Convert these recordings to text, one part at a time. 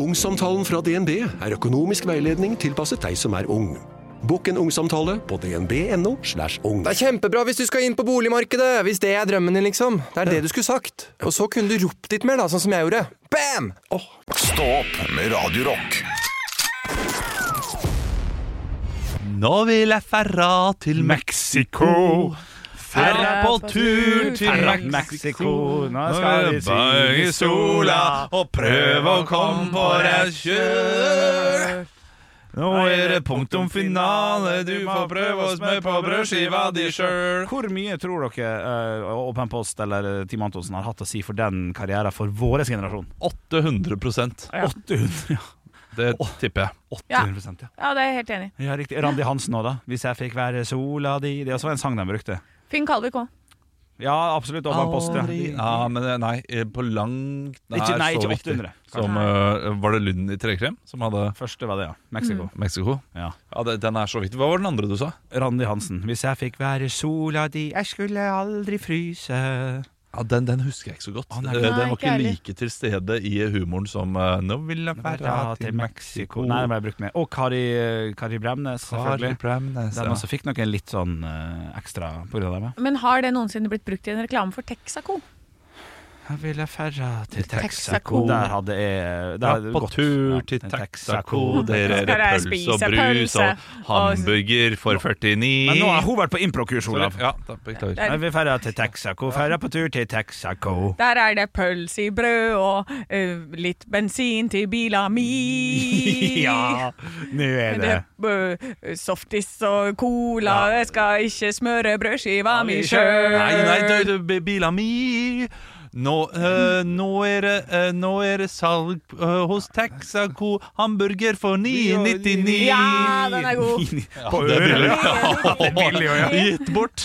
Ungsamtalen fra DNB er økonomisk veiledning tilpasset deg som er ung. Bokk en ungsamtale på dnb.no. slash ung. Det er kjempebra hvis du skal inn på boligmarkedet! Hvis det er drømmen din, liksom. Det er det du skulle sagt. Og så kunne du ropt litt mer, da, sånn som jeg gjorde. Bam! Stå opp med Radio Rock. Nå vil jeg ferra til Mexico. Ferra på tur til Mexico. Nå Nå skal vi bøye synge sola sola. og prøve å komme på rett kjør. Nå er det punktum finale, du får prøve å smøre på brødskiva di sjøl. Hvor mye tror dere eh, Åpen Post eller eh, Team Antonsen har hatt å si for den karrieren for vår generasjon? 800 Ja. 800 ja. Det tipper jeg. 800 ja. Ja, det er jeg helt enig i. ja, riktig. Randi Hansen òg, da. 'Hvis jeg fikk være sola di' Det er også en sang de brukte. Finn Kalvik òg. Ja, absolutt. Åpen Post. Ja. Ja, men eh, nei, eh, på langt nær Ikke- nei, så ikke viktig. 800, Som, eh, var det Lund i trekrem som hadde Første var det, ja. Mexico. Mexico? Ja. Ja, det, den er så viktig. Hva var den andre du sa? Randi Hansen. 'Hvis jeg fikk være sola di, jeg skulle aldri fryse'. Ja, Den, den husker jeg ikke så godt. nei, Eh, nei, den var ikke ikke heller. like til stede i humoren som eh, Nå vil jeg være Ferra til Mexico. Nei, det ble jeg brukt med. Og Kari, eh, Kari Bremnes, selvfølgelig. Den også fikk nok en litt sånn eh, ekstra på grunn av det. Men har det noensinne blitt brukt i en reklame for Texaco? Jeg ville ferra til Texaco. Der hadde jeg eh, der hadde Dra på gått. Ja, tur til til Texaco, Texaco. der er det pølse og Skal jeg spise brus pølse? og hamburger for 49 Men nå har hun vært på improkurs, Olav. Ja, da beklager. Ja. Jeg vil ferra til Texaco, ferra på tur til Texaco. Der er det pølse i brød og eh, litt bensin til bila mi. Ja, nå er det eh, softis og cola, jeg skal ikke smøre brødskiva mi sjøl. Nei, nei, nei, du, b- bila mi nå, eh, nå, er det, eh, nå er det salg eh, hos Texaco hamburger for 9,99. Ja, den er god. På Det er billig. øret. Ja. Det er billig, ja. Gitt bort.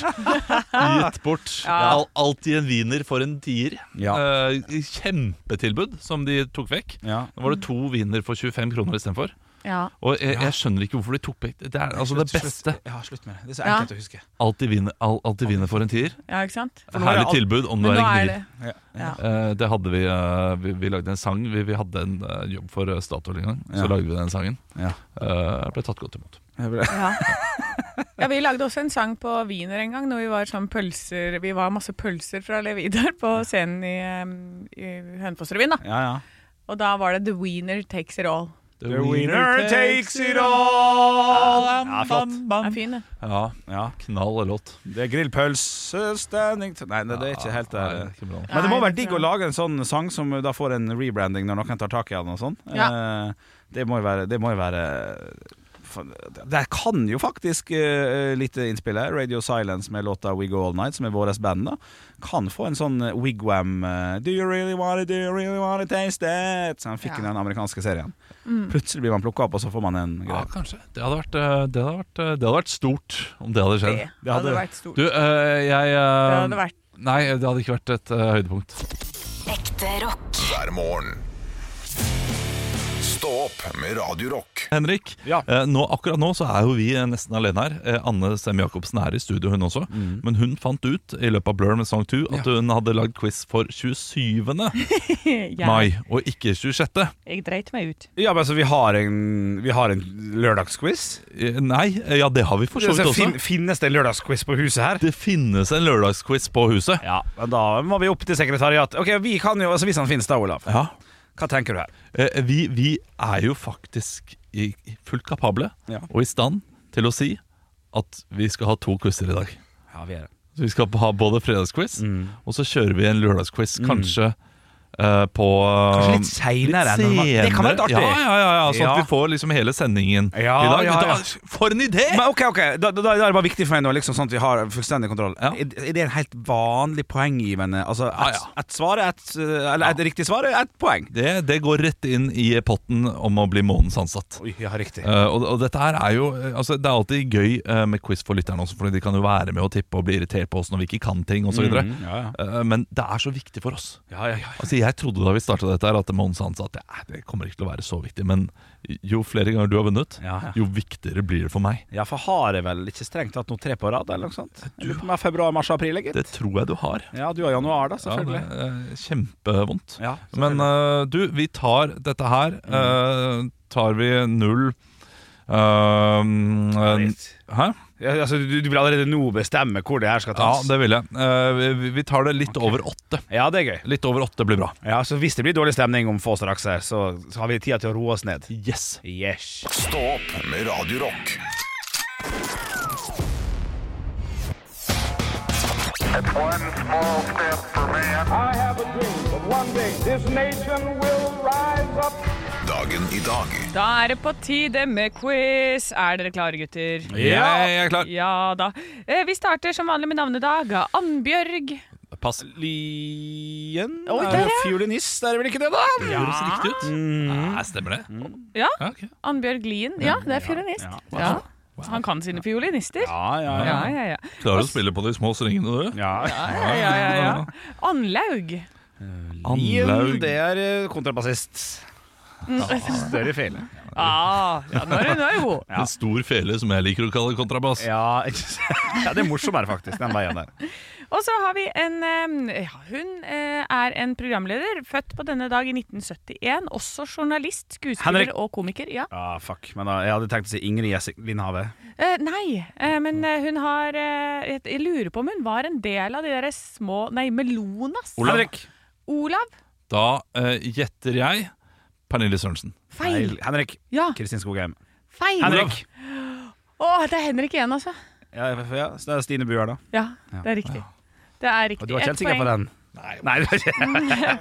Gitt bort. Ja. Al- Alltid en wiener for en tier. Ja. Eh, kjempetilbud som de tok vekk. Ja. Nå var det to wiener for 25 kroner istedenfor. Ja. Og jeg, jeg skjønner ikke hvorfor de tok vekk det. er altså det beste. Ja, slutt med det. Det er så Ja. enkelt å huske. Alltid wiener, all, alltid wiener for en tier. ja, ikke sant? nå er det Herlig alt- tilbud om du er Men en nå er gnir. det Ja. ja. Eh, det hadde vi, eh, vi Vi lagde en sang. Vi, vi hadde en eh, jobb for eh, Statoil en gang. Så Ja. lagde vi den sangen. Ja. Eh, ble tatt godt imot. Jeg ble- Ja. ja, vi lagde også en sang på Wiener en gang, når vi var sånn pølser Vi var masse pølser fra Levidar på scenen i, em, i Hønefossrevyen, da. Ja, ja. Og da var det The Wiener Takes It All. The winner takes it all. Ja, flott. Det er fin, det. Ja, Ja. knall låt. Det er grillpølse, standing t- Nei, det, det er ikke helt eh, Ja, der. det er ikke bra. Men det må Nei, være det er digg å bra. lage en sånn sang som da får en rebranding når noen tar tak i den og sånn. Eh, Det må jo være, det må jo være faen, Der kan jo faktisk eh, litt innspill her. Radio Silence med låta We Go All Night, som er vårt band, da. Kan få en sånn wigwam eh, Do you really wanna, do you really wanna taste it? Som han fikk Ja. Mm. i den amerikanske serien. Plutselig blir man plukka opp, og så får man en Ja, greie. kanskje. Det hadde, vært, eh, det, hadde vært, eh, det hadde vært stort om det hadde skjedd. Det hadde um, vært stort. Du, eh, jeg Det eh, hadde vært Nei, det hadde ikke vært et eh, høydepunkt. Ekte rock. hver morgen. Stå opp med Radio Rock. Henrik, Ja. eh, nå, akkurat nå så er jo vi eh, nesten alene her. Eh, Anne Sem Jacobsen er i studio, hun også. Men hun fant ut i løpet av Blur med Song 2 at hun hadde lagd quiz for 27. mai, og ikke 26. Jeg dreit meg ut. Ja, men altså, vi har en, vi har en lørdagsquiz. Eh, Nei, eh, ja, det har vi for så vidt Altså, også. fin, finnes det en lørdagsquiz på huset her? Det finnes en lørdagsquiz på huset. Ja, men da må vi opp til sekretariat. Ok, vi kan jo, altså Hvis han finnes da, Olav. Ja. Hva tenker du her? Eh, vi, vi er jo faktisk i, i fullt kapable Ja. og i stand til å si at vi skal ha to quizer i dag. Ja, vi er det. Så vi skal ha både fredagsquiz, Mm. og så kjører vi en lørdagsquiz, kanskje eh, på um, Kanskje litt seinere. enn normalt. Det kan være litt artig. Ja, ja, ja, ja sånn Ja. at vi får liksom hele sendingen Ja, i dag. ja, ja. Dette var- For en idé! Men ok, ok, da, da, da er det bare viktig for meg nå, liksom sånn at vi har fullstendig kontroll. Ja. Er, er det en helt vanlig poenggivende Altså Ja, ett ja. et svar, ett eh, Eller et riktig svar, ett poeng. Det, det går rett inn i potten om å bli månedens ansatt. Oi, ja, riktig. Eh, og, og dette her er jo eh, altså, Det er alltid gøy eh, med quiz for lytterne også, Fordi de kan jo være Mm. med og tippe og bli irritert på oss når vi ikke kan ting osv. ja, ja. Men det er så viktig for oss. Ja, ja, ja. Altså, altså Jeg trodde da vi starta dette, her at Mons han sa at ja, det kommer ikke til å være så viktig. Men jo flere ganger du har vunnet, Ja, ja. jo viktigere blir det for meg. Ja, for har jeg vel ikke strengt tatt noe tre på rad, eller noe sånt? Jeg lurer på om jeg har februar, mars, april, jeg, gitt. Det tror jeg du har. Ja, du har januar, Ja, da, det selvfølgelig. er eh, kjempevondt. Ja, Men eh, du, vi tar dette her. eh, Mm. tar vi null eh, Hæ? Ja, altså, du, du vil allerede nå bestemme hvor det her skal Ja, tas? det vil jeg. Eh, vi, vi tar det litt over åtte. Ja, det er gøy. Litt over åtte blir bra. Ja, så Hvis det blir dårlig stemning om få straks her, så, så har vi tida til å roe oss ned. Yes. Yes. Stå opp med Radio Rock. One small step for man. I have a dream that one day this nation will rise up. Dagen i dag. Da er det på tide med quiz. Er dere klare, gutter? Jeg er klar. Ja da. Eh, Vi starter som vanlig med navnedag. Annbjørg. Pass. Lien Oi, er der, jo ja. fiolinist, er det vel ikke det, da? Det høres riktig ut. Nei, stemmer det? Ja, Ja, ok. Annbjørg Lien. Ja, det er fiolinist. Ja. Han kan sine fiolinister. Ja, ja, ja. Ja, ja, ja. Klarer å spille på de små strengene, du. ja. ja, ja, ja, ja. Annlaug. Lien, Anlaug. det er eh, kontrabassist. Mm. Større feil. Ah, ja, nå er hun nå er hun god. En stor fele som jeg liker å kalle kontrabass. Ja, ikke s- ja, det er morsommere, faktisk, den veien der. Og så har vi en eh, ja, Hun eh, er en programleder, født på denne dag i 1971. Også journalist, skuespiller Henrik. og komiker. Ja. Ja, fuck. Men da, jeg hadde tenkt å si Ingrid Gjessing Lindhave. Eh, nei, eh, men eh, hun har eh, jeg- Jeg lurer på om hun var en del av de der små Nei, Melonas. Henrik. Olav? Da eh, gjetter jeg Pernille Sørensen. Feil. Feil. Henrik. Ja, Kristin Skogheim. feil. Henrik. Å, det er Henrik igjen, altså. Ja, ja, så det er Stine Buer, da. Ja, det er riktig. Det er riktig. Og du var ikke helt Ett sikker på poeng. Mm. den? Nei. Nei du var ikke-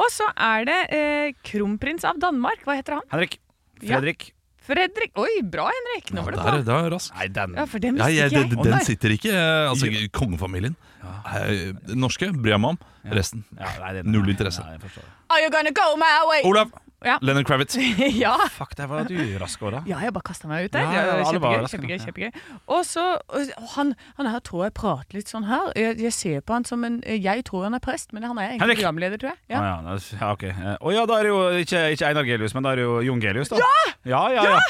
Og så er det eh, kronprins av Danmark. Hva heter han? Henrik. Fredrik. Fredrik. Oi, bra, Henrik. Nå var det Der, bra. der, rask. Nei, den. Ja, for den Ja, visste jeg, ikke jeg. den, Å, den nei. sitter ikke. eh, Altså, Kongefamilien. Eh, Norske bryr jeg meg om. Resten. Ja, nei, den- Null interesse. Nei, jeg forstår det. Are you gonna go my way? Olav! Ja. Lennon Kravitz. ja. Fuck, der var du rask òg, da. ja, jeg bare kasta meg ut der. Ja, Det ja, var alle var kjempegøy, overraskende. kjempegøy, kjempegøy. Og så og han, han her tror jeg prater litt sånn her. Jeg, jeg ser på han som en Jeg tror han er prest, men han er Henrik! egentlig programleder, tror jeg. Ja. Ja. ja, da- ja, ok. Eh, Å ja, da er det jo ikke, ikke Einar Gelius, men da er det jo Jon Gelius, da. Ja! ja, ja,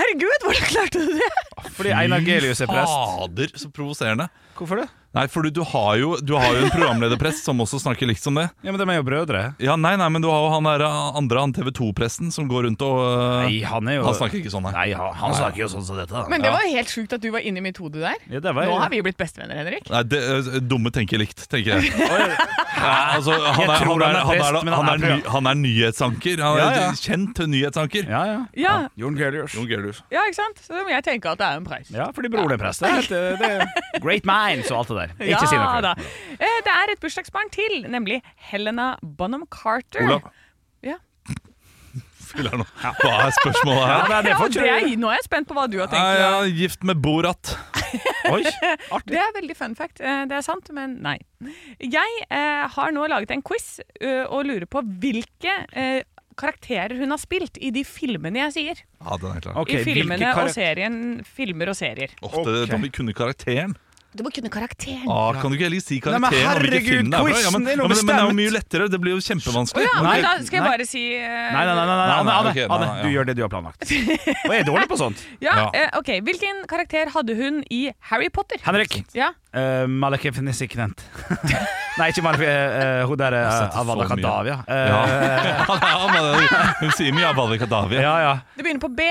Herregud, hvordan klarte du det? Fordi Einar Gelius er prest. Fader, så provoserende. Hvorfor det? Nei, fordi du har jo, du har jo en programlederprest som også snakker likt som det. Ja, men De er jo brødre. Ja, nei, nei, men du har jo han der eh, andre, han TV 2-presten, som går rundt og eh, Nei, han er jo Han snakker ikke sånn, nei. Nei, han, han snakker jo sånn som dette. da. Men det var helt sjukt at du var inni mitt hode der. Ja, det var, Nå har vi blitt bestevenner, Henrik. Nei, det, eh, dumme tenker likt, tenker jeg. Nei, altså, han, er, han, tror er, han er han, prest, er, men han han, er er, ny, han er nyhetsanker. Han Ja, er ja. Kjent nyhetsanker. Ja, ja. Ja, Jon Gelius. ja, ikke sant? Så må jeg tenke at det er en prest. Ja, fordi broren er prest. Det er helt, eh, det er great minds og alt det der. Ikke Ja si noe. da. Eh, Det er et bursdagsbarn til, nemlig Helena Bonham Carter. Olav. Ja. Fyller nå. Hva er spørsmålet her? Nei, det Ja, får det ikke er, du- nå er jeg spent på hva du har tenkt. Nei, Olav. jeg er gift med Borat. Oi, Det artig. er veldig fun fact. Eh, Det er sant, men nei. Jeg eh, har nå laget en quiz eh, og lurer på hvilke eh, karakterer hun har spilt i de filmene jeg sier. Ja, den er klar. Ok, I filmene og serien Filmer og serier. Ofte da vi kunne karakteren. Du må kunne karakteren. Ah, kan du ikke heller si karakteren? Nei, men og hvilken herregud, film det er fra? ja, men, ja, men, quizen er noe men det er jo bestemt. mye lettere. Det blir jo kjempevanskelig. Ja, Nei, men da skal jeg nei. bare si eh, Nei, nei, nei, nei, nei, Nei, nei, Anne, Anne, ok, nei, Anne nei, du ja. gjør det du har planlagt. Og jeg er dårlig på sånt. Ja, Ja. eh, ok. Hvilken karakter hadde hun i Harry Potter? Henrik. Ja. Uh, Malek Fenisiknent. Nei, ikke Malek. eh, hun der uh, Jeg har sett så Avada mye. Kadavia. Ja. Eh, Ja, men hun sier mye av Abadi Kadavi. ja, ja. Det begynner på B.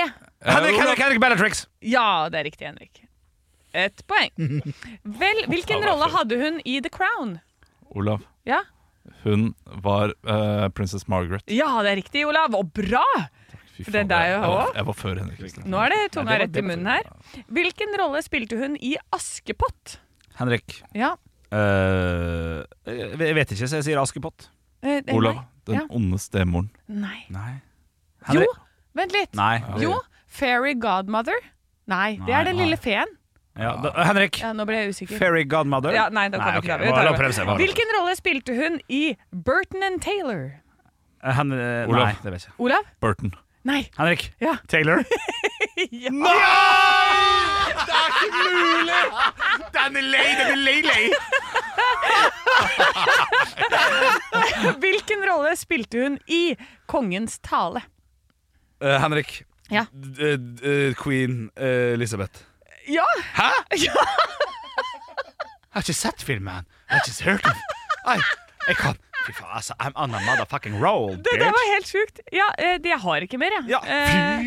Henrik, Henrik, Henrik Bellatrix! Ja, det er riktig, Henrik. Et poeng. Vel, hvilken rolle hadde hun i The Crown? Olav, Ja, hun var eh, Princess Margaret. ja det er riktig, Olav. Og bra! Fy For det er deg jeg, også? var- jeg var før Henrik. Kristian. Nå er det tunga rett i munnen her. Hvilken rolle spilte hun i Askepott? Henrik. Ja. eh, jeg vet ikke, så jeg sier Askepott. eh, eh, Olav, den Ja. onde stemoren. Nei. Nei. nei. Jo, Henrik. vent litt. Nei. Jo, Fairy Godmother. Nei, det Nei, er den lille feen. Ja, da, Henrik. Ja, nå ble jeg usikker. Fairy Godmother. Ja, nei, da kan vi Nei, ok, ikke la- vi bare tar la det. prøve seg, bare la prøve Hvilken rolle spilte hun i Burton and Taylor? seg. Hen, eh, Olav. nei, det vet jeg ikke. Olav? Burton. Nei. Henrik. Ja. Taylor. Ja. Den er lei, den er lei, lei. Hvilken rolle spilte hun i Kongens tale? Eh, Henrik. Ja. D- d- eh, Queen eh, Elizabeth. Ja! Hæ?! Jeg har ikke sett filmen. Jeg har ikke hørt den. Nei, jeg kan Fy faen, altså. I'm on a motherfucking roll, Det der bitch. var helt sjukt. Ja, eh, det- jeg har ikke mer, jeg. Ja. Eh,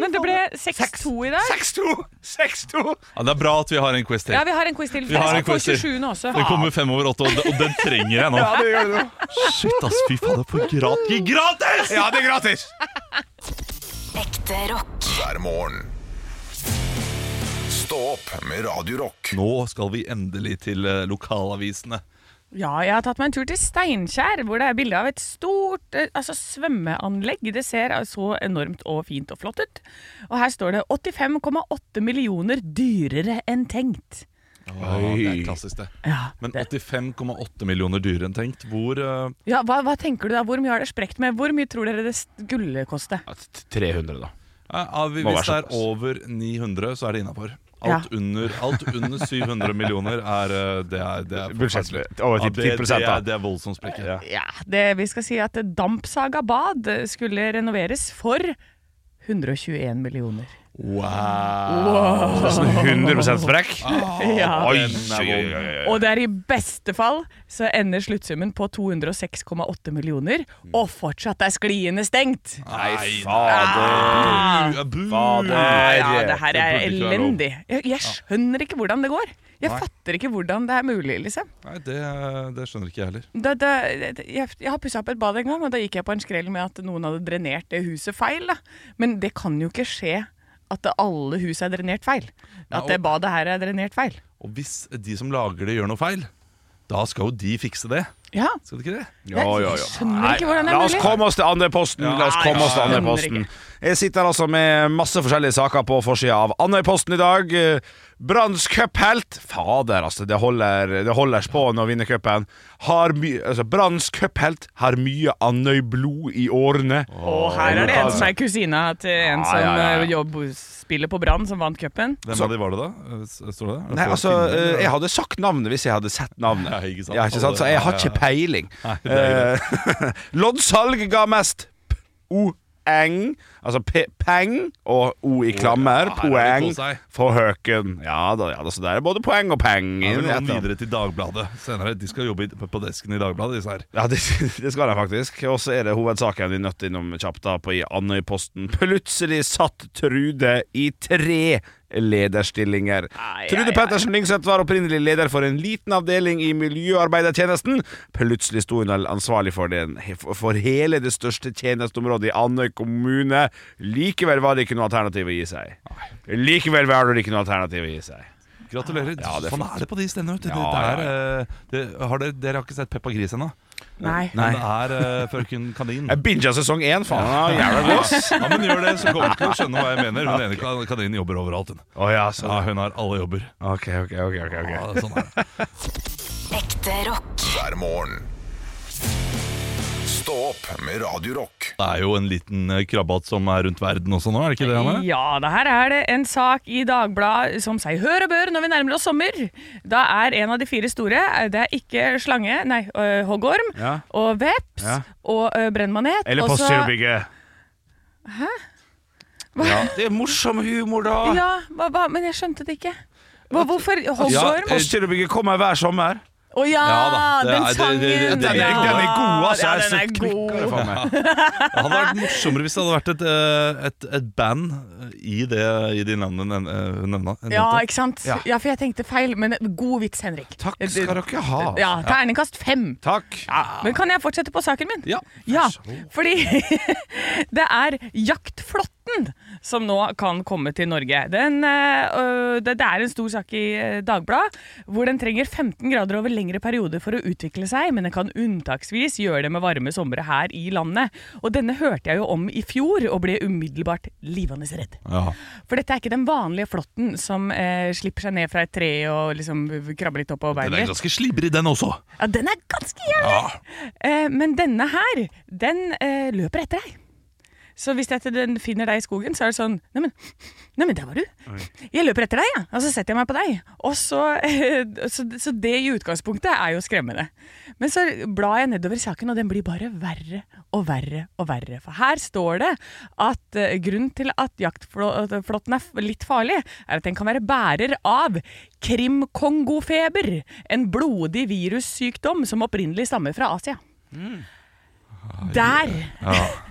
men det ble 6-2 i dag. 6-2! 6-2! Ja, det er bra at vi har en quiz til. Ja, vi har en quiz til. Vi har en på quiz til. 27. også. Det kommer fem over åtte, og den- og den trenger jeg nå. Ja, det gjør det nå. Shit, ass, fy faen, det er for grat gi gratis! Ja, det er gratis! Ekte rock. hver morgen. Stå opp med Radio Rock. Nå skal vi endelig til eh, lokalavisene. Ja, jeg har tatt meg en tur til Steinkjer, hvor det er bilde av et stort eh, altså, svømmeanlegg. Det ser så enormt og fint og flott ut. Og her står det 85,8 millioner dyrere enn tenkt. Ja, det er klassisk, det. Ja, Men det. 85,8 millioner dyrere enn tenkt. Hvor eh, Ja, hva, hva tenker du da? Hvor mye har det sprekt med? Hvor mye tror dere det skulle koste? 300, da. ja, vi- Må Hvis det være er såpass. over 900, så er det innafor. Alt, under, alt under 700 millioner er eh, Det er, det er Budsjett. forferdelig. Over Ja, 10 det, det, da. er, det er voldsomt sprekker. Ja, det, Vi skal si at Dampsaga bad skulle renoveres for 121 millioner. Det er sånn 100 sprekk. Ja. Oi, den er oi, oi, oi. Og det er i beste fall så ender sluttsummen på 206,8 millioner, og fortsatt er skliene stengt! Nei, fader. Bu- bu- Fader. Eh, Ja, det her er Det burde ikke være lov. elendig. Jeg, jeg skjønner ikke hvordan det går. Jeg fatter ikke hvordan det er mulig, liksom. Nei, det, det skjønner ikke jeg heller. Da, da, jeg, jeg har pussa opp et bad en gang, og da gikk jeg på en skrell med at noen hadde drenert det huset feil. Da. Men det kan jo ikke skje at alle hus er drenert feil. At det badet her er drenert feil. Og hvis de som lager det, gjør noe feil, da skal jo de fikse det. Ja, Skal de ikke det? jeg, jeg skjønner ikke hvordan det La er oss mulig. komme oss til Andøyposten. La oss Nei, komme oss til jeg skjønner Andøyposten. Jeg sitter altså med masse forskjellige saker på forsida av Andøyposten i dag. Eh, Branns cuphelt Fader, altså. Det holder, det holder spåen å vinne cupen. Har my- Altså, Branns cuphelt har mye Andøy-blod i årene. Og her er det en som er kusina til en Ja, som ja, ja, ja. eh, jobb, spiller på Brann, som vant cupen. Hvem av de var det, da? Eh, Står det det? Er det Nei, på altså, Tinder, eh, eller? jeg hadde sagt navnet hvis jeg hadde sett navnet. Ja, ikke sant. Ja, ikke sant? Så jeg har ikke peiling. Eh, Loddsalg ga mest p- o-eng, altså p peng, og o i klammer, ja, her er poeng, det kos seg. for høken. Ja da, ja da, så der er både poeng og peng. Ja, det i et går eller annet. videre til Dagbladet senere. De skal jobbe i- på desken i Dagbladet, disse her. Ja, det, det skal jeg faktisk. Og så er det hovedsaken vi nødt innom kjapt da på i Andøyposten. Plutselig satt Trude i tre lederstillinger. Ai, Trude ai, Pettersen Lyngseth var opprinnelig leder for en liten avdeling i miljøarbeidertjenesten. Plutselig sto hun ansvarlig for, den, for hele det største tjenesteområdet i Andøy kommune. Likevel var det ikke noe alternativ å gi seg. Likevel var det ikke noe alternativ å gi seg. Gratulerer. Ja, det er sånn flott. er det på de stedene. vet du. Det, Ja, det ja, er, eh, det, har dere, dere har ikke sett Peppa Gris ennå? Nei. Men Det er eh, Frøken Kanin. Jeg binga sesong én, faen. Ja, jævla god, ass. Ja, men gjør det, så kommer du til å skjønne hva jeg mener. Hun ene kan- kaninen jobber overalt, hun. Å ja, så Ja, hun har alle jobber. OK, OK, OK. ok, ok. Ja, sånn er det. Ekte rock. hver morgen. Stå opp med Radio Rock. Det er jo en liten eh, krabbat som er rundt verden også nå, er det ikke det, Hanne? Ja, det her er det en sak i Dagbladet som sier hør og bør når vi nærmer oss sommer. Da er en av de fire store eh, Det er ikke slange, nei, øh, hoggorm Ja. og veps Ja. og øh, brennmanet. Eller og så- postgirobygget. Hæ? det er morsom humor, da. Ja, hva, hva, men jeg skjønte det ikke. Hva, hvorfor hoggorm? Å ja, eh, Postgirobygget kommer hver sommer. Ja da, det den er- det- sangen! det- det- det- Den er, ja. den er god, altså. Ja, Jeg den er knikker det god. for meg. Det hadde vært morsommere hvis det hadde vært et, eh, et, et band eh, i, det, i de navnene hun nev- hun nevna. hun Ja, nevnte. ikke sant? Ja. Ja, for jeg tenkte feil, men god vits, Henrik. Takk skal dere ha. Ja, terningkast fem. Takk. Men kan jeg fortsette på saken min? Ja. fordi det er jaktflåtten som nå kan komme til Norge. Den, eh, øh, det, det er en stor sak i eh, Dagbladet, hvor den trenger 15 grader over lengre perioder for å utvikle seg, men den kan unntaksvis gjøre det med varme somre her i landet. Og denne hørte jeg jo om i fjor, og ble umiddelbart livende redd. Ja. For dette er ikke den vanlige flåtten som eh, slipper seg ned fra et tre og liksom krabber litt opp på Den beina. er ganske slibrig, den også. Ja, den er ganske jævlig! Eh, men denne her, den eh, løper etter deg. Så hvis jeg til den finner deg i skogen, så er det sånn Neimen, nei, men der var du. Jeg løper etter deg, ja. og så setter jeg meg på deg. Og så, så, så det i utgangspunktet er jo skremmende. Men så blar jeg nedover i saken, og den blir bare verre og verre og verre. For her står det at eh, grunnen til at jaktflåtten er f- litt farlig, er at den kan være bærer av krimkongofeber. En blodig virussykdom som opprinnelig stammer fra Asia. Der!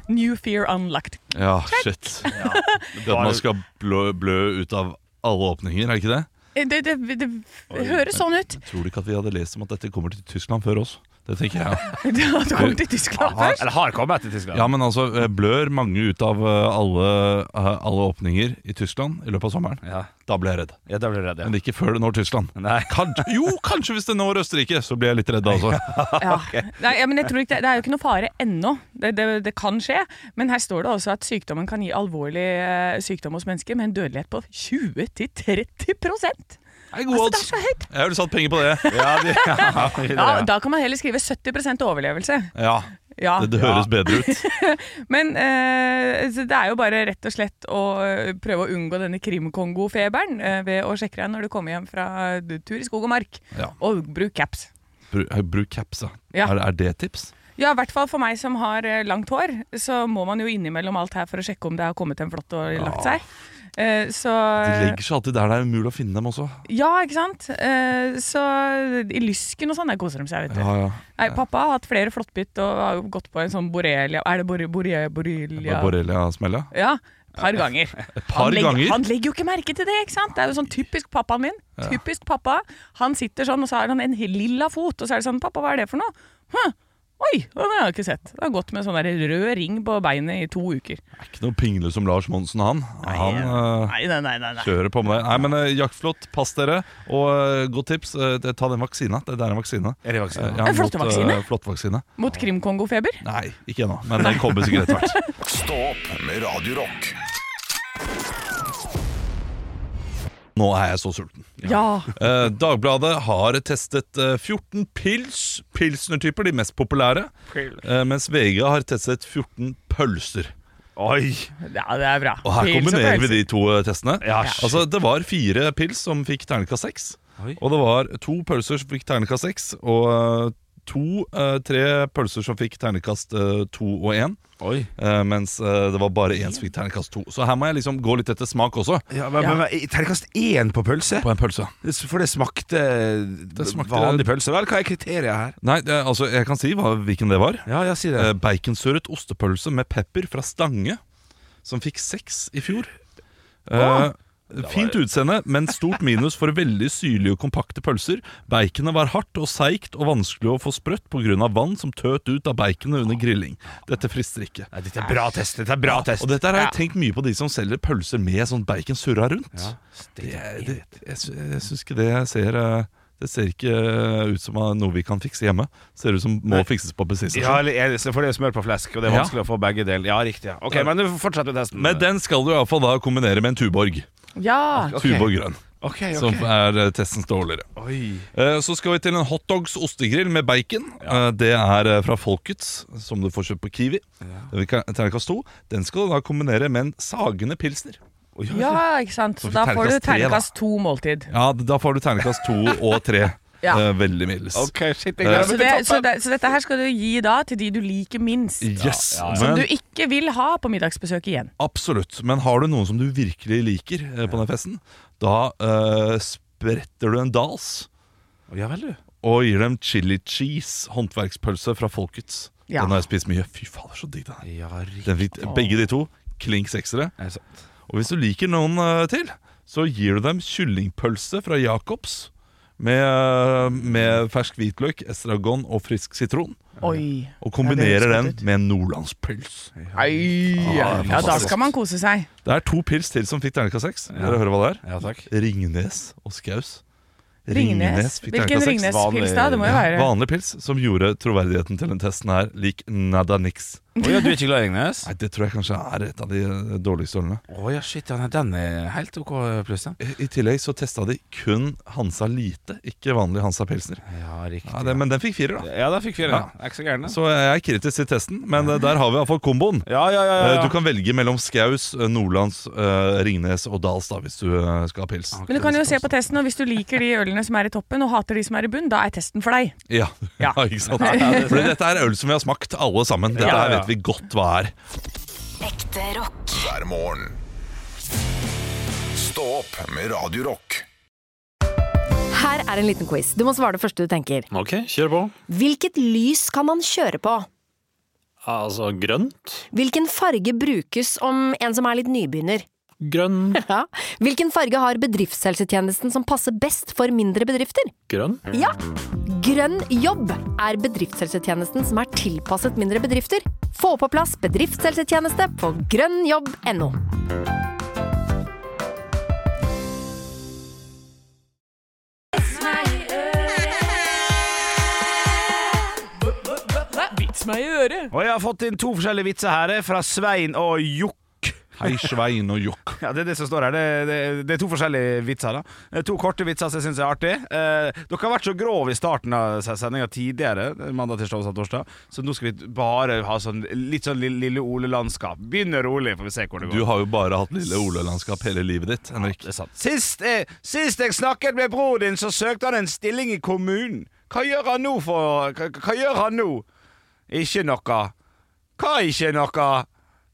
New fear unlocked. Ja, shit. Det at man skal blø, blø ut av alle åpninger, er det ikke det? Eh, Det, det, det høres sånn ut. Tror du ikke at vi hadde lest om at dette kommer til Tyskland før oss? Det tenker jeg. Du kom til Tyskland Har, først. eller har kommet til Tyskland. Ja, men altså, eh, blør mange ut av eh, alle, eh, alle åpninger i Tyskland i løpet av sommeren? Ja. Da blir jeg redd. Ja, da blir du redd, ja. Men ikke før det når Tyskland. Nei. Kanskje, jo, kanskje hvis det når Østerrike, så blir jeg litt redd, altså. Ja. Nei, ja, men jeg tror ikke, det- det er jo ikke noe fare ennå. Det, det, det kan skje. Men her står det også at sykdommen kan gi alvorlig eh, sykdom hos mennesker med en dødelighet på 20-30 Det er gode Altså, det er odds. så høyt! Jeg ville satt penger på det. Ja, de, ja, Ja, da kan man heller skrive 70 overlevelse. Ja, Ja. Det, det høres bedre ut. Men eh, så det er jo bare rett og slett å eh, prøve å unngå denne krimkongofeberen eh, ved å sjekke deg når du kommer hjem fra eh, tur i skog og mark, Ja. og bruk caps. Bru- eh, Bruk caps, da. Ja. Er, er det tips? Ja, i hvert fall for meg som har eh, langt hår, så må man jo innimellom alt her for å sjekke om det har kommet en flått og lagt seg. Eh, Så De legger seg alltid der det er umulig å finne dem også. Ja, ikke sant? Eh, Så i lysken og sånn, der koser de seg, vet du. Ja, ja. Nei, pappa har hatt flere flåttbitt og har jo gått på en sånn borrelia Er det bore, bore, borrelia? Borrelia-smellet. Ja, et par ganger. Et par han, legger, ganger. han legger jo ikke merke til det, ikke sant? Det er jo sånn typisk pappaen min. Typisk pappa. Han sitter sånn, og så har han en hel lilla fot, og så er det sånn, pappa, hva er det for noe? Hm. Oi, det har jeg ikke sett. Det har gått med sånn der rød ring på beinet i to uker. Er ikke noe pingle som Lars Monsen, han. Han eh, Nei, nei, nei, nei. nei. kjører på med det. Nei, men eh, jaktflott, pass dere. Og eh, godt tips, eh, det- ta den vaksina. Det der er en vaksine. Er det Eh, vaksine? ja, En flott mot, eh, vaksine? flott vaksine. Mot krimkongofeber? Nei, ikke ennå, men den kommer sikkert etter hvert. Stå opp med Radio Rock. Nå er jeg så sulten. Ja. Eh, Dagbladet har testet eh, 14 pils, pilsnertyper, de mest populære. eh, mens VG har testet 14 pølser. Oi! Ja, det er bra. Og her Pils kombinerer vi pølser. de to eh, testene. Ja, Altså, det var fire pils som fikk terningkast seks. Oi. Og det var to pølser som fikk terningkast seks. Og eh, to, eh, tre pølser som fikk terningkast eh, to og én. Oi. eh, mens eh, det var bare én som fikk terningkast to. Så her må jeg liksom gå litt etter smak også. Ja, men, men, men, Terningkast én på pølse? På en pølse. For det smakte, smakte- vanlig pølse. Vel, hva er kriteriet her? Nei, det, er- altså, jeg kan si hva, hvilken det var. Ja, ja, si Eh, Baconsurret ostepølse med pepper fra Stange, som fikk seks i fjor. Eh, Fint utseende, men stort minus for veldig syrlige og kompakte pølser. Baconet var hardt og seigt og vanskelig å få sprøtt pga. vann som tøt ut av baconet under grilling. Dette frister ikke. Nei, dette er bra test. Dette er bra test. Og dette her har jeg tenkt mye på de som selger pølser med sånn bacon surra rundt. Det, er- det, jeg sy- jeg syns ikke det ser eh, Det ser ikke eh, ut som noe vi kan fikse hjemme. Ser ut som må fikses på bensinstasjonen. Ja, eller- eller- for det er jo smør på flesk, og det er Sånn Ja. vanskelig å få begge deler. Ja, riktig. ja. Ok, men du fortsetter med testen. Men den skal du iallfall da kombinere med en Tuborg. Ja. Ok. Tuborg grønn, Ok, ok. som er eh, testens dårligere. Oi. Eh, Så skal vi til en hotdogs ostegrill med bacon. Eh, Det er eh, fra Folkets, som du får kjøpt på Kiwi. Den vil ka- Terningkast to. Den skal du da kombinere med en sagende pilsner. ja, ikke sant. Så Så da får du terningkast tre, da. terningkast to måltid. Ja, d- Da får du terningkast to og tre. Ja. Eh, Veldig middels. Ok, shit, jeg Eh, gleder meg til Så, det, så, toppen. det, så dette her skal du gi da til de du liker minst. Yes, Som Men, du ikke vil ha på middagsbesøk igjen. absolutt. Men har du noen som du virkelig liker eh, på den festen, da eh, spretter du en dals Ja vel, du. og gir dem chili cheese, håndverkspølse fra Folkets. Ja. Den har jeg spist mye. Fy fader, så digg den er. Ja, riktig. Den fikk begge de to. Klink seksere. Er det sant? Og hvis du liker noen eh, til, så gir du dem kyllingpølse fra Jacobs. Med, eh, med fersk hvitløk, estragon og frisk sitron. Oi. Og Ja, det kombinerer høres den godt ut. med en nordlandspils. Ja, ja, da skal man kose seg. Det er to pils til som fikk terningkast seks. Dere hører hva det er? Ja, takk. Ringnes og Skaus. Ringnes. fikk Hvilken terningkast seks. Ringnes-pils da? Det må jo være Vanlig pils som gjorde troverdigheten til den testen her lik nada nix. Å ja, du er ikke glad i Ringnes? Nei, Det tror jeg kanskje er et av de eh, dårligste årene. Å ja, shit, ja, nei, den er helt ok pluss, den. I i tillegg så testa de kun Hansa Lite, ikke vanlig Hansa Pelsner. Ja, riktig. Ja, det, men den fikk firer, da. Ja, da fikk vi den. Ja. Er ikke så gæren, den. Så jeg er kritisk til testen, men eh, der har vi iallfall komboen. Ja, ja, ja. ja, Eh, ja. Du kan velge mellom Skaus, eh, Nordlands, eh, Ringnes og Dals da, hvis du eh, skal ha pils. Men du kan jo se på testen, og hvis du liker de ølene som er i toppen, og hater de som er i bunn, da er testen for deg. Ja, Ja. ikke sant? Fordi dette er øl som vi har smakt, alle sammen. Dette Ja, her ja. vet vi godt hva er. Ekte rock. hver morgen. Stå opp med Radio Rock. Her er en liten quiz. Du må svare det første du tenker. Ok, kjør på. Hvilket lys kan man kjøre på? Altså grønt. Hvilken farge brukes om en som er litt nybegynner? Grønn. Ja. Hvilken farge har bedriftshelsetjenesten som passer best for mindre bedrifter? Grønn. Ja! Grønn jobb er bedriftshelsetjenesten som er tilpasset mindre bedrifter. Få på plass bedriftshelsetjeneste på grønnjobb.no. Vits meg i øret. Og jeg har fått inn to forskjellige vitser her, eh, fra Svein og Jokk. Hei, Svein og Jokk. Ja, Det er det som står her. Det, det, det er to forskjellige vitser. da Eh, To korte vitser som jeg syns er artig. Eh, dere har vært så grove i starten av sendinga tidligere, mandag, tirsdag, onsdag, torsdag, så nå skal vi bare ha sånn, litt sånn Lille, lille Ole-landskap. Begynn rolig, får vi se hvor det går. Du har jo bare hatt lille Ole-landskap hele livet ditt, Henrik. Det er sant. Sist, eh, sist jeg snakket med bror din, så søkte han en stilling i kommunen. Hva gjør han nå for Hva, hva gjør han nå? Ikke noe. Hva ikke noe?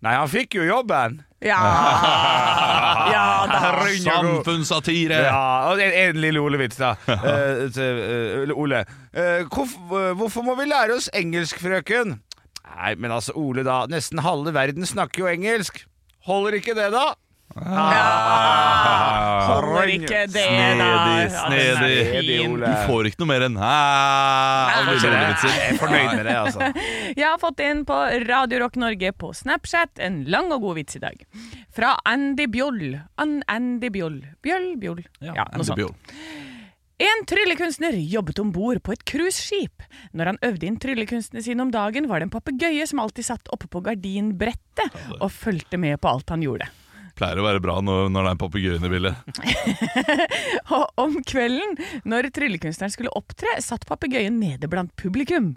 Nei, han fikk jo jobben. Ja. ja da. Samfunnssatire! Ja, og en, en lille Ole-vits, da. Eh, til, eh, Ole. Eh, hvorf- eh, hvorfor må vi lære oss engelsk, frøken? Nei, men altså, Ole, da. Nesten halve verden snakker jo engelsk. Holder ikke det, da? Ah. Holder ikke det der. Snedig, snedig. Ja, den er fin. Du får ikke noe mer enn hæ av lille Ole-vitser. Jeg er fornøyd med det, altså. Jeg har fått inn på Radio Rock Norge på Snapchat en lang og god vits i dag. Fra Andy Bjoll. An Andy Bjoll. Bjøll, Bjoll. Ja, noe sånt. Bjørn. En tryllekunstner jobbet om bord på et cruiseskip. Når han øvde inn tryllekunstene sine om dagen, var det en papegøye som alltid satt oppe på gardinbrettet og fulgte med på alt han gjorde. Pleier å være bra når, når det er papegøyen i bildet. Og om kvelden, når tryllekunstneren skulle opptre, satt papegøyen nede blant publikum.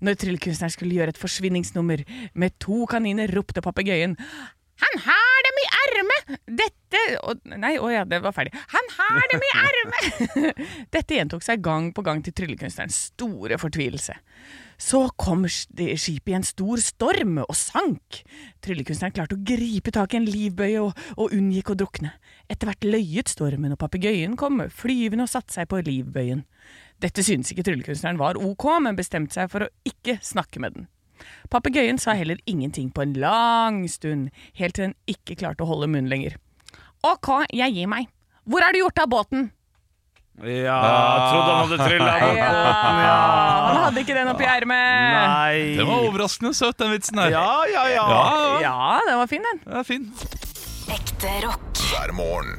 Når tryllekunstneren skulle gjøre et forsvinningsnummer med to kaniner, ropte papegøyen Han har dem i ermet! Dette å, Nei, å ja, det var ferdig. Han har dem i ermet! Dette gjentok seg gang på gang til tryllekunstnerens store fortvilelse. Så kom sk- det- skipet i en stor storm og sank. Tryllekunstneren klarte å gripe tak i en livbøye og, og unngikk å drukne. Etter hvert løyet stormen, og papegøyen kom flyvende og satte seg på livbøyen. Dette syntes ikke tryllekunstneren var ok, men bestemte seg for å ikke snakke med den. Papegøyen sa heller ingenting på en lang stund, helt til den ikke klarte å holde munnen lenger. Ok, jeg gir meg. Hvor er det gjort av båten? Ja, trodde han hadde trylla. Ja, han hadde ikke den oppi ermet. Nei. Den var overraskende søt, den vitsen her. Ja, ja, ja. Ja, ja, Ja, den var fin, den. det er fin. Ekte rock. hver morgen.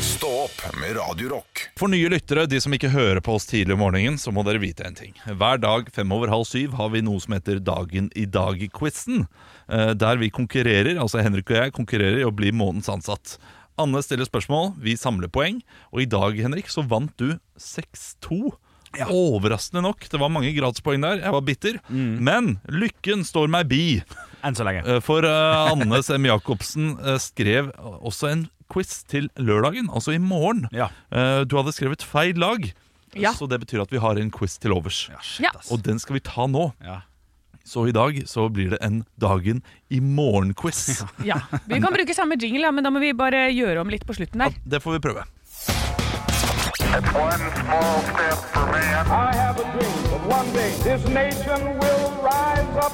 Stå opp med Radio Rock. For nye lyttere, de som ikke hører på oss tidlig om morgenen, så må dere vite en ting. Hver dag fem over halv syv har vi noe som heter Dagen i dag-quizen. eh, Der vi konkurrerer, altså Henrik og jeg konkurrerer i å bli månedens ansatt. Anne stiller spørsmål, vi samler poeng, og i dag, Henrik, så vant du 6-2. Overraskende nok. Det var mange gradspoeng der. Jeg var bitter. Men lykken står meg bi. Enn så lenge. Eh, For eh, Anne Sem Jacobsen eh, skrev også en quiz til lørdagen, altså i morgen. Ja. Eh, du hadde skrevet feil lag, Ja. så det betyr at vi har en quiz til overs. Ja. Og den skal vi ta nå. Ja. Så i dag så blir det en Dagen i morgen-quiz. Ja, Vi kan bruke samme jingle, ja, men da må vi bare gjøre om litt på slutten der. Det får vi prøve. It's one small step for man. I have a dream that one day this nation will rise up.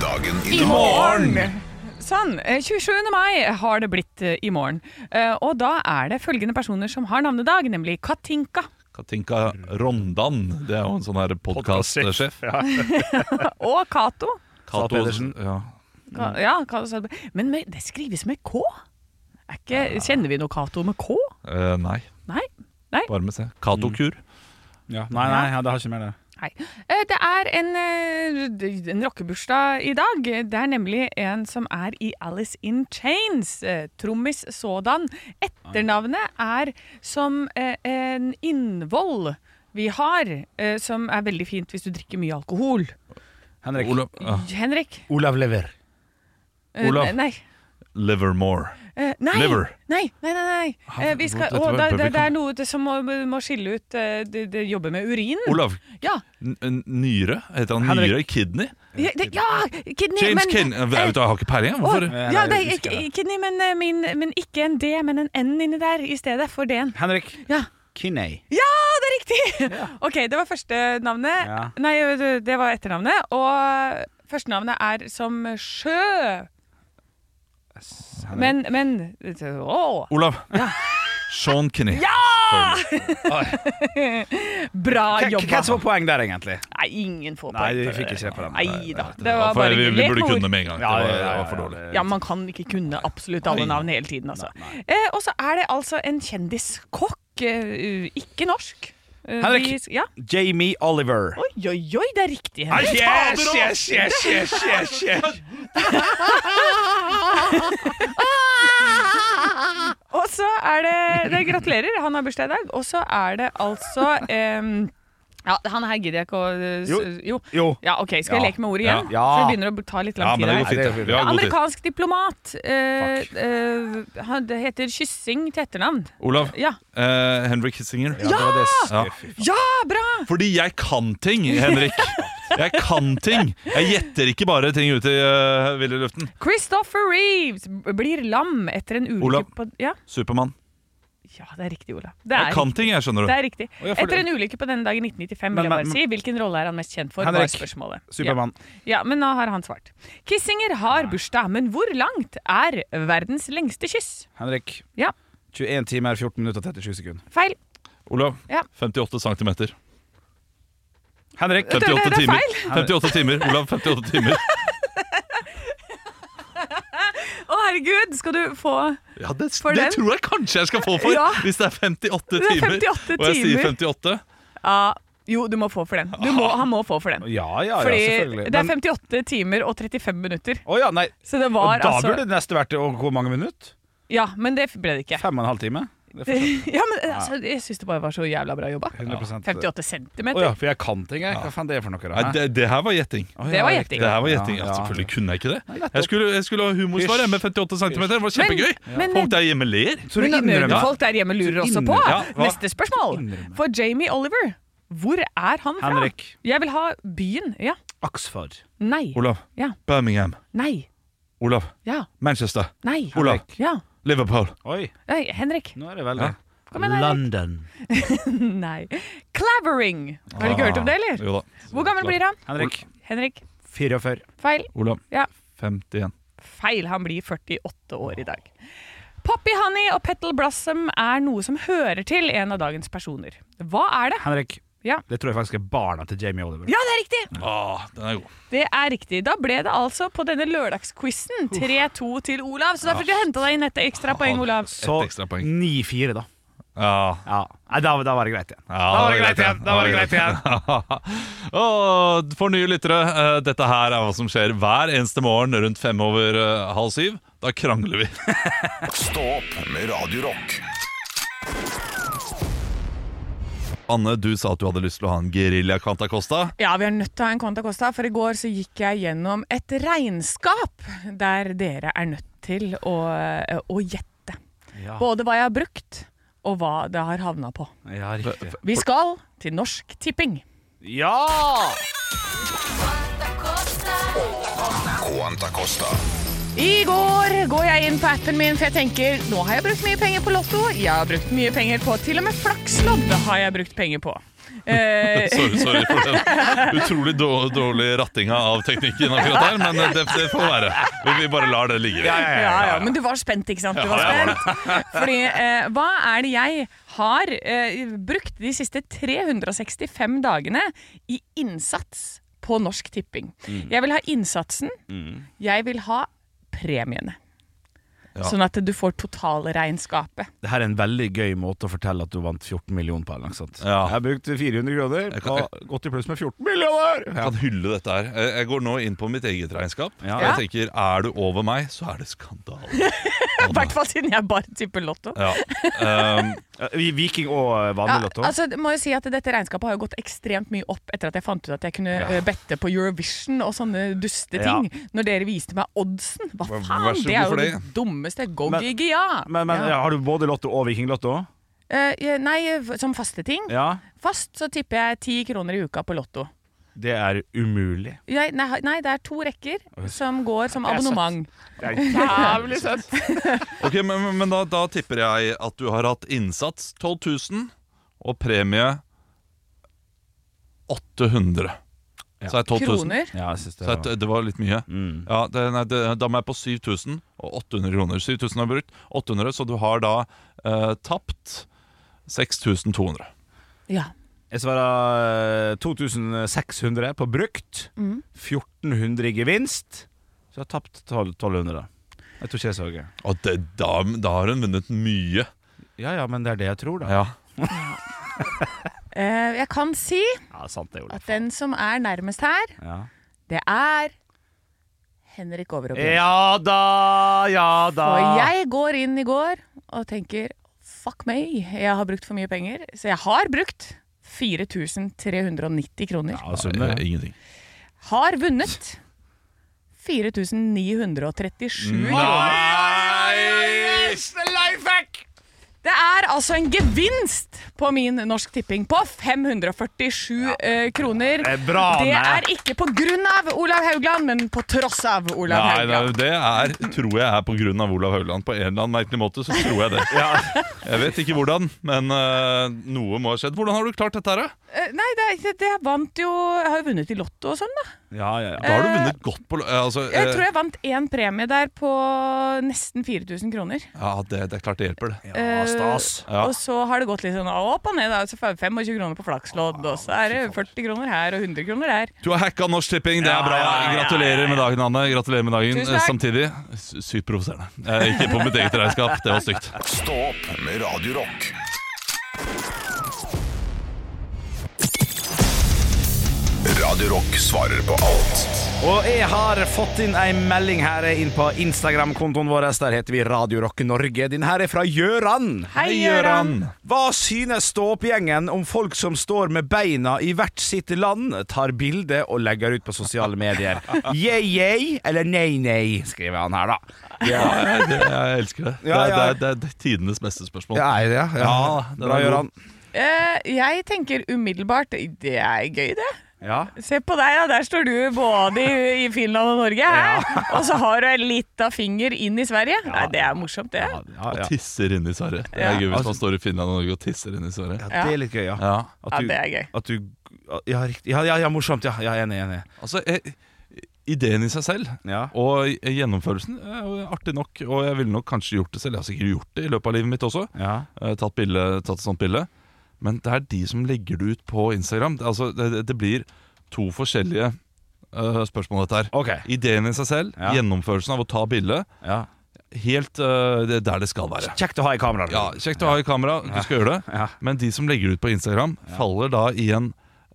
Dagen i I dag. morgen! Sånn. eh, 27. mai har det blitt eh, i morgen. Eh, Og da er det følgende personer som har navnedag, nemlig Katinka Katinka Rondan, det er jo en sånn her podkastsjef. og Cato. Cato- Pedersen. Ja. Ka ja, Cato sa det. Men med, det skrives med K? Er ikke, kjenner vi noe Cato med K? Eh, nei, Nei. Nei. bare med C. Katokur. Nei, nei, ja, det har ikke mer det. Hei. Eh, Det er en, eh, en rockebursdag i dag. Det er nemlig en som er i Alice in Chains. eh, Trommis sådan. Etternavnet er som eh, en innvoll vi har, eh, som er veldig fint hvis du drikker mye alkohol. Henrik. Olav, ja. Henrik? Olav Lever. Eh, Ah. Olav. Nei. Livermore. Eh, nei. Liver. nei, nei, nei, nei. Eh, vi skal, Dette var å, det, publikum. det, det er noe det som må, må skille ut eh, det, det jobber med urinen. Olav. Ja, N n- nyre? Heter han Henrik. nyre? Kidney? ja, det- ja kidney, James men Eh, Kidney Jeg vet, jeg har ikke peiling. jeg. Å, Hvorfor? ja, Nei, det jeg er husker ikke- kidney, men, eh, min, men ikke en D, men en N inni der i stedet for D-en. Henrik. Ja. Kinney. Ja, det er riktig! Ok, det var første navnet. Ja. Nei, eh, det- det var etternavnet. Og førstenavnet er som sjø. Henrik. Men, men Å! Olav. Sean Kinney. Bra Hvem hvem jobba! som var poeng der, egentlig? Nei, ingen får Nei, poeng. vi fikk ikke se på den. Nei da. Det Ja, var for bare vi, vi lek burde med ord. kunne med en gang. Det var, det var for dårlig. Ja, man kan ikke kunne absolutt alle navn hele tiden, altså. Eh, og så er det altså en kjendiskokk, eh, ikke norsk. Eh, Henrik. vi- ja. Jamie Oliver. Oi, oi, oi, det er riktig, Henrik. Yes, yes, yes, yes, yes, yes. Og så er det, det Gratulerer, han har bursdag i dag. Og så er det altså em, ja, Han her gidder jeg ikke å eh, s- Jo. jo. Jo. Ja, OK, skal jeg Ja. leke med ordet igjen? Ja. For det begynner å ta litt Ja, lang tid men det her. går fint. Nei, Vi har god tid. Amerikansk diplomat. eh, eh, han det heter Kyssing til etternavn. Olav. Ja. eh, Henrik Kissinger. Ja! Det var det. Ja. ja, bra! Fordi jeg kan ting, Henrik. Jeg kan ting. Jeg gjetter ikke bare ting ute i uh, ville luften. Christopher Reeves b- blir lam etter en ulykke Olav. på ja. Supermann. ja, det er riktig, Ola. Det er, Jeg kan riktig. ting, jeg, skjønner det du. er riktig. Å, ja, for Etter det- en ulykke på denne dagen i 1995, Men- vil jeg bare men- si. Hvilken rolle er han mest kjent for? var Henrik. spørsmålet. Supermann. Ja. ja, men nå har han svart. Kissinger har bursdag, men hvor langt er verdens lengste kyss? Henrik. Ja. 21 timer, 14 minutter og 37 sekunder. Feil. Olav. Ja. 58 centimeter. Henrik. du, det er 58 timer. feil. 58 timer. Olav, 58 timer. Å, herregud, skal du få Ja, det, For det den? tror jeg kanskje jeg skal få for, Ja. hvis det er 58 Det er timer. 58 Og jeg sier timer. 58. Ja, Jo, du må få for den. Du må, han må få for den. Ja, ja, ja, Fordi selvfølgelig. det er Men- 58 timer og 35 minutter. Å ja, nei. Så det Og var da altså burde det neste vært å- hvor mange minutter? Ja, men det ble det ikke. Fem og en halv time? Det er fortsatt Ja, men altså, Jeg syns det bare var så jævla bra jobba. 100 58 centimeter. Å ja, for jeg kan ting, jeg. Hva faen det er for noe? Nei, Da? det, det her var gjetting. Å, ja, Det var riktig. gjetting. Det her var gjetting. Ja, Ja, ja. selvfølgelig kunne jeg ikke det. nettopp. Jeg skulle, jeg skulle ha humorsvar jeg, med 58 cm. Det var kjempegøy! Men- Folk der hjemme ler. Så du Men innrømmer- nå- folk der hjemme lurer også på. innrømmer- Ja, hva? Neste spørsmål. For Jamie Oliver, hvor er han fra? Henrik. Jeg vil ha byen. Ja. Oxford. Nei. Olav. Ja. Birmingham. Nei. Olav. Ja. Manchester. Nei. Olav. Ja. Liverpool. Oi, Nei, Henrik. nå er det veldig Kom igjen, Henrik. London. Nei. Clavering. Har du ikke hørt om det, eller? Jo da. Hvor gammel blir han? Henrik. Henrik. 44. Feil. Olav. Ja. 51. Feil. Han blir 48 år i dag. Poppy Honey og Petal Blossom er noe som hører til en av dagens personer. Hva er det? Henrik. Ja. Det tror jeg faktisk er barna til Jamie Oliver. Ja, det er riktig! Ah, den er god. Det er riktig. Da ble det altså på denne lørdagsquizen 3-2 til Olav. Så da fikk du henta deg inn et ekstra poeng, Olav. Så Ett ekstra poeng. 9-4, da. Ja. Ja. Nei, da, da var det greit igjen. Ja, Da var det greit igjen, da var det greit Og for nye lyttere, eh, dette her er hva som skjer hver eneste morgen rundt fem over eh, halv syv. Da krangler vi. Stå opp med Radio Rock. Anne, du sa at du hadde lyst til å ha en gerilja Quanta Costa. Ja, vi er nødt til å ha en Conta Costa, for i går så gikk jeg gjennom et regnskap der dere er nødt til å, å gjette. Ja. Både hva jeg har brukt, og hva det har havna på. Ja, riktig. Vi skal til Norsk Tipping. Ja! Quanta Costa. I går går jeg inn på appen min, for jeg tenker nå har jeg brukt mye penger på Lotto. Jeg har brukt mye penger på til og med flakslodd har jeg brukt penger på. Eh, Sorry, sorry for den utrolig dår- dårlig rattinga av teknikken akkurat der, men eh, det, det får være. Vi, vi bare lar det ligge. ja, ja, men du var spent, ikke sant? Du var spent. Fordi, eh, hva er det jeg har eh, brukt de siste 365 dagene i innsats på Norsk Mm. Tipping? Jeg vil ha innsatsen, jeg vil ha premiene. Ja. Sånn at du får totalregnskapet. Det her er en veldig gøy måte å fortelle at du vant 14 millioner på. Eller noe sånt. Jeg brukte 400 kroner, Jeg kan- og gått i pluss med 14 millioner! Jeg kan hylle dette her. Jeg- Jeg går nå inn på mitt eget regnskap. Ja. Og jeg tenker, er du over meg, så er det skandale. I hvert fall siden jeg bare tipper lotto. Ja. Um, Viking og eh, vanlig lotto. altså, det må jo si at Dette regnskapet har jo gått ekstremt mye opp etter at jeg fant ut at jeg kunne Ja. eh, bette på Eurovision og sånne duste ting. Når dere viste meg oddsen. Hva Vær- faen? vær så god det er for jo det det. dummeste Men- go-giget, ja. men men ja. Har du både lotto og vikinglotto? Eh, eh, nei, eh, som faste ting. Ja. Fast så tipper jeg ti kroner i uka på lotto. Det er umulig. Jeg, nei, nei, det er to rekker som går som abonnement. Det er jævlig søtt! ok, Men, men- men da, da tipper jeg at du har hatt innsats 12 000 og premie 800. Så er 12 000. Kroner. Ja, jeg synes det Så at, eh, var. det var litt mye. Ja, det, nei, det, da må jeg på 7000 og 800 kroner. 7000 har jeg brukt, 800, så du har da eh, tapt 6200. Ja. Jeg svarer eh, 2600 på brukt. Mm. 1400 i gevinst. Så jeg har tapt 12 1200, da. Jeg tror ikke det er så gøy. Og det, da, da har hun vunnet mye. Ja ja, men det er det jeg tror, da. Ja. Eh, jeg kan si Ja, sant det, Ole. at den som er nærmest her, Ja. det er Henrik Overhaug. ja da, ja da. For jeg går inn i går og tenker fuck meg, jeg har brukt for mye penger. Så jeg har brukt 4390 kroner. ja, altså. summer, Eh, ingenting. Har vunnet 4937 kroner. Nei! Life hack! Det er altså en gevinst på min Norsk Tipping på 547 eh, kroner. Det er bra, Det Anne. er ikke på grunn av Olav Haugland, men på tross av Olav Nei, nei, Haugland. det er, tror jeg er på grunn av Olav Høgland. På en eller annen merkelig måte så tror jeg det. Jeg vet ikke hvordan, men eh, noe må ha skjedd. Hvordan har du klart dette her, da? Eh, Nei, det, det, det vant jo Jeg har jo vunnet i Lotto og sånn, da. Ja, ja, Da har du vunnet godt på lo- eh, altså, Jeg eh, tror jeg vant én premie der på nesten 4000 kroner. eh, Ja, det, det er klart det hjelper, det. ja. Stas. Ja. Og så har det gått litt sånn opp og ned. Da. Så får jeg 25 kroner på flakslodd, og så er det 40 kroner her og 100 kroner der. Du har hacka Norsk Tipping, det er bra. Gratulerer med dagen, Anne. Gratulerer med dagen Eh, Tusen takk. Samtidig sy- sykt provoserende. Eh, Ikke på mitt eget regnskap, det var stygt. Stå opp med Radio Rock. Radio Rock svarer på alt Og jeg har fått inn ei melding her inn på Instagram-kontoen vår. Der heter vi Radio Rock Norge. Din her er fra Gjøran. Hei, Gøran! Hva synes stå-opp-gjengen om folk som står med beina i hvert sitt land, tar bilde og legger ut på sosiale medier? Yeah, yeah, eller nei, nei, skriver han her, da. Ja, det, jeg elsker det. Det Ja, er, det ja. er, det er, det er tidenes beste spørsmål. Ja, er det det? Ja, Ja, den er bra, god. Gjøran. Eh, jeg tenker umiddelbart Det er gøy, det. Ja. Se på deg, da. Der står du både i, i Finland og Norge. Her. Og så har du en lita finger inn i Sverige. Nei, det er morsomt, det. Ja, ja, Altså- Og ja. tisser inn i Sverige. Det er Ja. gøy hvis man står i Finland og Norge og tisser inn i Sverige. Det er litt gøy, ja. Ja. At Ja, det er gøy. At du, ja, riktig. Ja, ja, ja, morsomt. Ja, ja enig, enig. Altså, jeg, ideen i seg selv Ja. og gjennomførelsen er jo artig nok. Og jeg ville nok kanskje gjort det selv. Jeg har sikkert gjort det i løpet av livet mitt også. Ja. Eh, Tatt, bilde, tatt et sånt bilde. Men det er de som legger det ut på Instagram. Det- Altså, det, det- det blir to forskjellige eh, spørsmål, dette her. Ok. Ideen i seg selv, Ja. gjennomførelsen av å ta bilde, Ja. helt eh, det- der det skal være. Kjekt å ha i kameraet. Ja, Kjekt å ha i kamera, du skal gjøre det. Ja. Men de som legger det ut på Instagram, faller da i en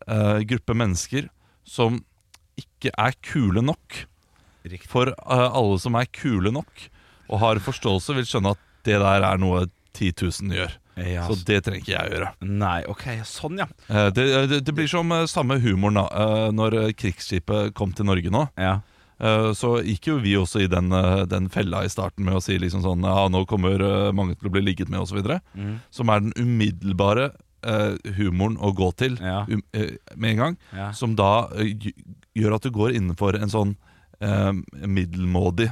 eh, gruppe mennesker som ikke er kule nok. Riktig. For eh, alle som er kule nok og har forståelse, vil skjønne at det der er noe 10 000 gjør. Ja. Så det trenger ikke jeg gjøre. Nei, ok, sånn ja. Eh, det, det, det blir som eh, samme humoren da eh, når eh, krigsskipet kom til Norge nå. Ja, Eh, Så gikk jo vi også i den, eh, den fella i starten med å si liksom sånn Ja, nå kommer eh, mange til å bli ligget med, osv. Mm. Som er den umiddelbare eh, humoren å gå til Ja. um, eh, med en gang. Ja. Som da eh, gj- gjør at du går innenfor en sånn eh, middelmådig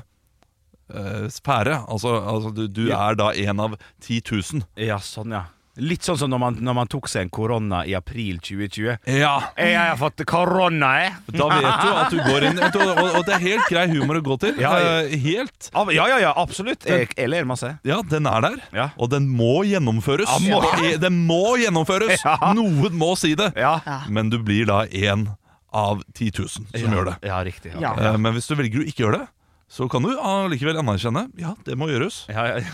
eh, sfære. Altså, altså du, du Ja. er da en av 10 000. ja sånn ja. Litt sånn som når man, når man tok seg en korona i april 2020. Ja! Jeg har fått korona, jeg! Da vet du at du går inn Og, og, og det er helt grei humor å gå til. Ja, ja. Eh, helt. Av- Ja, ja, ja, absolutt. Jeg, jeg ler masse. Ja, den er der, Ja. og den må gjennomføres. Ja, må- Og e- Den må gjennomføres! Ja. Noen må si det. Ja. Men du blir da én av 10 000 som gjør det. Ja, riktig. ok. Ja. Eh, Men hvis du velger å ikke gjøre det, så kan du allikevel anerkjenne ja, det må gjøres,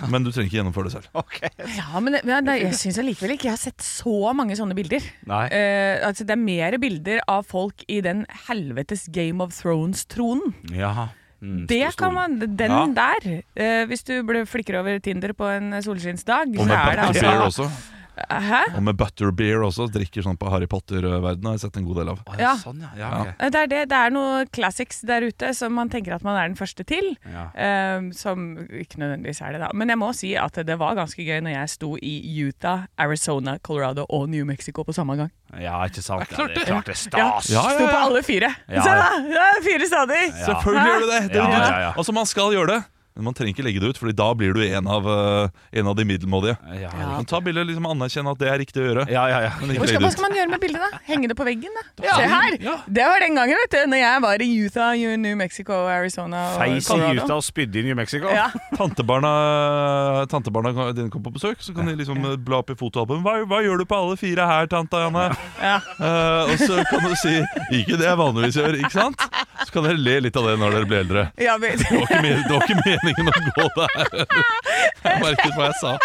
men du trenger ikke gjennomføre det selv. Ja, men, men nei, jeg syns allikevel ikke jeg har sett så mange sånne bilder. Nei. Eh, altså, det er mer bilder av folk i den helvetes Game of Thrones-tronen. Ja. Mm, Det stor- kan man, Den Ja. der. eh, hvis du ble- flikker over Tinder på en solskinnsdag, Og med så er det butterbeer altså også. Hæ? Og med butterbeer også. Drikker sånn på Harry Potter-verdenen har jeg sett en god del av. Ja. sånn, Ja. ok. Eh, Det er, det. det er noen classics der ute som man tenker at man er den første til. Ja. eh, som ikke nødvendigvis er det, da. Men jeg må si at det var ganske gøy når jeg sto i Utah, Arizona, Colorado og New Mexico på samme gang. Ja, ikke sant? klart Ja, det det. er klart det er Ja, stas. Sto på alle fire. Ja, Se ja. da! Det er fire stadig! Selvfølgelig gjør du det! det er Ja, jo- ja, ja. Altså, man skal gjøre det. Men man trenger ikke legge det ut, Fordi da blir du en av, eh, en av de middelmådige. Ja. Men ta bildet og liksom anerkjenne at det er riktig å gjøre. Men ikke Hvor skal, legge hva det ut. skal man gjøre med bildet, da? Henge det på veggen, da? Ja. Se her! Det var den gangen, vet du. Når jeg var i Utah, New Mexico, Arizona og Feis i Colorado. Utah Og spydde i New Mexico. Ja. Tantebarna, tantebarna dine kom på besøk, så kan de liksom eh, bla opp i fotoalbum. Hva, 'Hva gjør du på alle fire her, tante Anne?' Eh, og så kan du si 'ikke det jeg vanligvis gjør', ikke sant? Så kan dere le litt av det når dere blir eldre. Ja, men, Det var ikke, men, det var ikke meningen å gå der. Jeg merket hva jeg sa.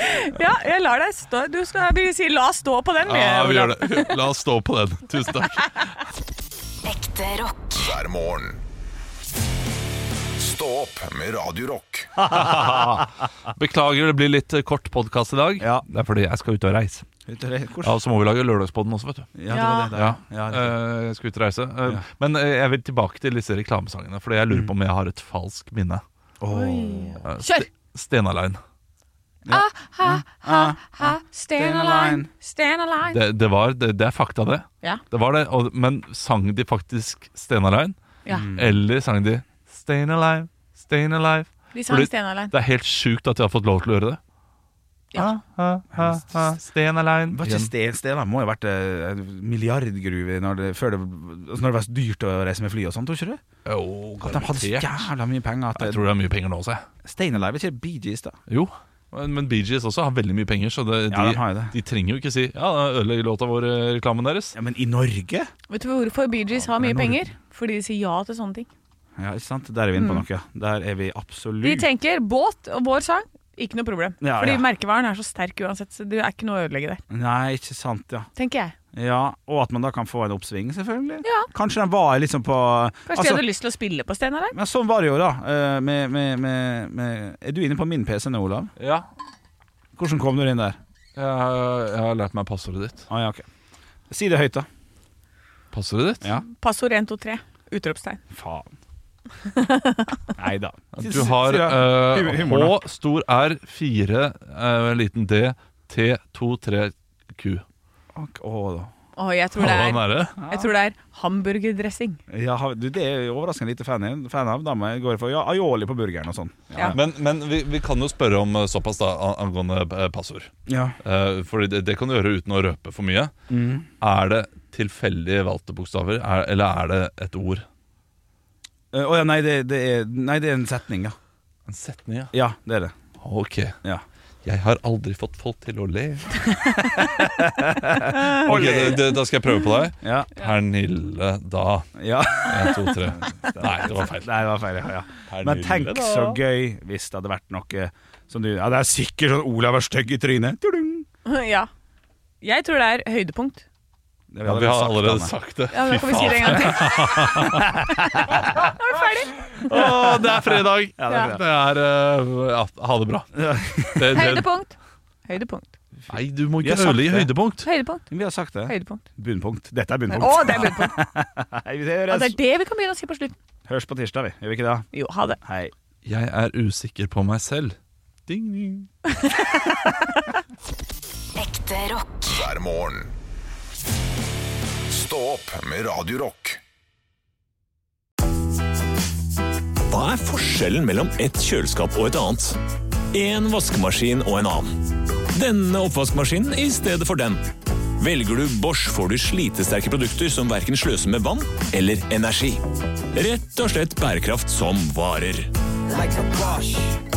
ja, jeg lar deg stå. Du skal vi sier la stå på den. Ja, vi Olav. gjør det. La oss stå på den. Tusen takk. Ekte rock. hver morgen. Stå opp med Radio Rock. Beklager, det blir litt eh, kort podkast i dag. Det er fordi jeg skal ut og reise. Ut og reise, hvor- Ja, Og så må vi lage lørdagspodden også, vet du. Ja, det var det der, ja. Ja. Eh, Jeg skal ut og reise. Eh, Ja. Men eh, jeg vil tilbake til disse reklamesangene, Fordi jeg lurer på om jeg har et falskt minne. Eh, Ste- Kjør! Stena Line. Ah, ha, ha, ha, Stand Align, Stand Align. Det, det, var, det, det er fakta, det. Ja. det, var det og, men sang de faktisk Stena Line? Ja. Mm. Eller sang de Stayin' Alive, Stayin' Alive? De sang Fordi Stayin' Alive. Det er helt sjukt at de har fått lov til å gjøre det. Ah, Ja. Sten aleine. Var ikke sten, sten, da. Må jo ha vært eh, en milliardgruve når det, før det, altså når det var så dyrt å reise med fly og sånn, tror ikke du? Jo, At de hadde så jævla mye penger. At Jeg tror det er mye penger nå også, jeg. Stein Alive er ikke Bee Gees, da. Jo. Men Bee Gees også har veldig mye penger, så det, Ja, de, de har jo det. de trenger jo ikke si Ja, ødelegg låta vår, eh, reklamen deres. Ja, Men i Norge? Vet du hvorfor Bee Gees har men mye når- penger? Fordi de sier ja til sånne ting. Ja, ikke sant? Der er vi inne på Mm. noe. Der er vi absolutt De tenker båt og vår sang, ikke noe problem. Ja, Fordi ja. merkevaren er så sterk uansett, så det er ikke noe å ødelegge der. Nei, ikke sant, ja. Tenker jeg. ja. Og at man da kan få en oppsving, selvfølgelig. Ja. Kanskje den var liksom på Kanskje Altså- de hadde lyst til å spille på Stein Align? Men sånn var det jo, da. eh, Med, med, med, med Er du inne på min PC nå, Olav? Ja. Hvordan kom du inn der? Jeg, jeg har lært meg passordet ditt. Ah, ja, ok. Si det høyt, da. Passordet ditt? Ja. Passord 1, 2, 3. Utropstegn. Faen. Nei da. Du har eh, H, stor R, 4, eh, liten D, T, 2, 3, Q. eh, Å, jeg tror det Ja, den er er, det. jeg tror det er hamburgerdressing. Ja, har- du, det er jeg overraskende lite fan, i- fan av. Da må jeg gå for ja, aioli på burgeren og sånn. Ja. Men, men vi, vi kan jo spørre om eh, såpass da an- angående eh, passord. Ja. Eh, fordi det, det kan du gjøre uten å røpe for mye. Mm. Er det tilfeldig valgte bokstaver, er, eller er det et ord? Eh, Å ja, nei det, det er, nei, det er en setning, ja. En setning, ja. Ja, det er det. Ok. Ja. Jeg har aldri fått folk til å le. Ok, det, det, Da skal jeg prøve på deg. Ja. Pernille da. Ja. En, to, tre. Nei, det var feil. Nei, det var feil, ja, ja. Pernille, Men tenk da. så gøy hvis det hadde vært noe som du Ja, det er sikkert sånn Olav er stygg i trynet. Tudung. ja. Jeg tror det er høydepunkt. Det Ja, vi har allerede sagt det. Ja, men da kan vi si det en gang til. Nå er vi ferdig. Å, det er fredag! Ja, det er fredag. Det er, eh, ja, ha det bra. Det, det, Høydepunkt. Høydepunkt. nei, du må Vi har ikke sagt ødelegge det. høydepunkt. Høydepunkt. Vi har sagt det. Høydepunkt. Bunnpunkt. Dette er Å, bunnpunkt. det er høydepunkt. Hei, vi Ja, det høres. er det vi kan begynne å si på slutten. høres på tirsdag, vi. Gjør vi ikke det? Jo, ha det. Hei. Jeg er usikker på meg selv. Ding, ding. Ekte rock. hver morgen. Stå opp med Radio Rock. Hva er forskjellen mellom et kjøleskap og et annet? En vaskemaskin og en annen. Denne oppvaskmaskinen i stedet for den. Velger du Bosch får du slitesterke produkter som verken sløser med vann eller energi. Rett og slett bærekraft som varer. Like a Bosch.